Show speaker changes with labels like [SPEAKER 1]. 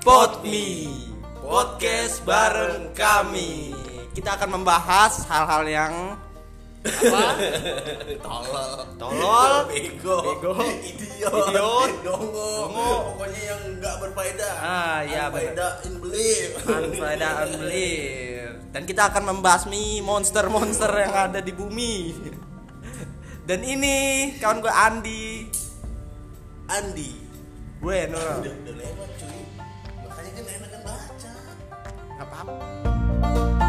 [SPEAKER 1] Podmi Podcast bareng kami Kita akan membahas hal-hal yang Apa?
[SPEAKER 2] tolol
[SPEAKER 1] Tolol
[SPEAKER 2] bego
[SPEAKER 1] Bego.
[SPEAKER 2] idiot
[SPEAKER 1] Idiot.
[SPEAKER 2] dongo
[SPEAKER 1] Dongo.
[SPEAKER 2] pokoknya yang nggak berfaedah
[SPEAKER 1] Ah, iya,
[SPEAKER 2] berfaedah in belief
[SPEAKER 1] Unfaedah unbelief Dan kita akan membasmi monster-monster yang ada di bumi Dan ini kawan gue Andi
[SPEAKER 2] Andi
[SPEAKER 1] Gue Nurul
[SPEAKER 2] udah udah lewat cuy makanya kan enak kan baca
[SPEAKER 1] Gak apa-apa.